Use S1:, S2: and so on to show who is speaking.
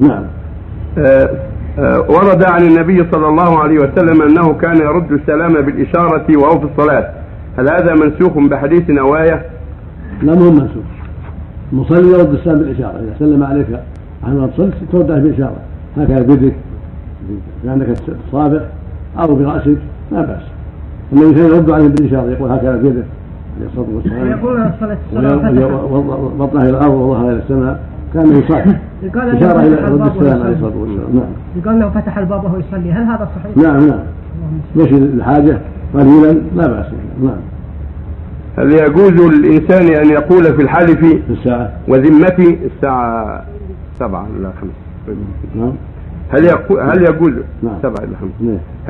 S1: نعم
S2: آه، آه، ورد عن النبي صلى الله عليه وسلم انه كان يرد السلام بالاشاره وهو في الصلاه هل هذا منسوخ بحديث او ايه؟
S1: لا مهم منسوخ المصلي يرد السلام بالاشاره اذا سلم عليك عن ما تصلي ترد عليه بالاشاره هكذا بيدك بانك الصابع او براسك لا باس النبي كان يرد عليه بالاشاره يقول هكذا بيده عليه الصلاه والسلام
S3: يقول صلاة
S1: وي- وي-
S3: الصلاة
S1: وض- بطنه الى الارض وظهره الى السماء كان يصاب
S3: يقال إنه
S1: اشاره الى
S3: فتح
S1: رد
S3: الباب
S1: السلام
S3: ويصلي.
S1: عليه الصلاه والسلام نعم
S3: يقال لو فتح الباب وهو يصلي هل هذا صحيح؟
S1: نعم نعم
S3: اللهم صل.
S1: مشي الحاجه قليلا لا باس نعم
S2: هل يجوز للانسان ان يقول في الحلف
S1: في الساعه
S2: وذمتي الساعه 7 الى 5
S1: نعم
S2: هل يقو... هل يجوز
S1: نعم.
S2: 7 الى 5
S1: نعم